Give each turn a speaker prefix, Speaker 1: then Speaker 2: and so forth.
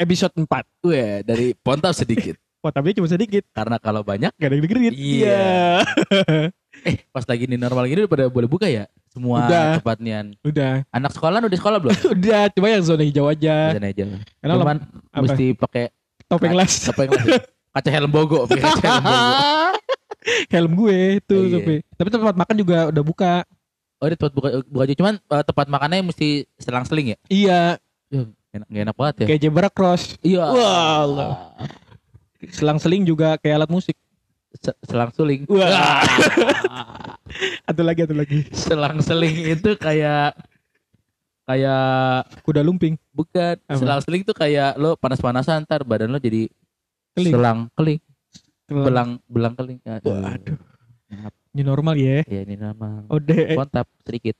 Speaker 1: episode 4.
Speaker 2: Weh, Iya, dari Pontap sedikit.
Speaker 1: Wah, tapi cuma sedikit.
Speaker 2: Karena kalau banyak,
Speaker 1: Gak ada yang dengerin.
Speaker 2: Iya. eh pas lagi ini normal gini udah pada boleh buka ya? Semua
Speaker 1: Udah.
Speaker 2: tempat nian.
Speaker 1: udah.
Speaker 2: Anak sekolah udah sekolah belum?
Speaker 1: Udah, cuma yang zona hijau aja.
Speaker 2: Jalan aja.
Speaker 1: Karena
Speaker 2: Iya. Cuman
Speaker 1: apa?
Speaker 2: mesti pakai
Speaker 1: Topeng las.
Speaker 2: topeng lagi. kaca helm bogo, pakai kaca helm bogo.
Speaker 1: Helm gue tuh,
Speaker 2: Iya.
Speaker 1: tapi tapi tempat makan juga udah buka.
Speaker 2: Oh, di tempat buka, buka aja. Cuman eh, tempat makannya mesti selang-seling ya.
Speaker 1: Iya,
Speaker 2: Enak, gak enak banget ya.
Speaker 1: kayak zebra cross.
Speaker 2: Iya.
Speaker 1: Wah, Allah. Selang-seling juga kayak alat musik.
Speaker 2: Se- Selang-seling.
Speaker 1: Wah. Atau lagi, atau lagi.
Speaker 2: Selang-seling itu kayak kayak
Speaker 1: Kuda lumping.
Speaker 2: bukan
Speaker 1: Apa?
Speaker 2: selang-seling itu kayak lo panas-panasan ntar badan lo jadi
Speaker 1: Keling.
Speaker 2: selang keling,
Speaker 1: Kelang.
Speaker 2: belang belang keling. Aduh.
Speaker 1: Waduh. Ini normal ya.
Speaker 2: Ya ini nama.
Speaker 1: Ode.
Speaker 2: Pontap sedikit.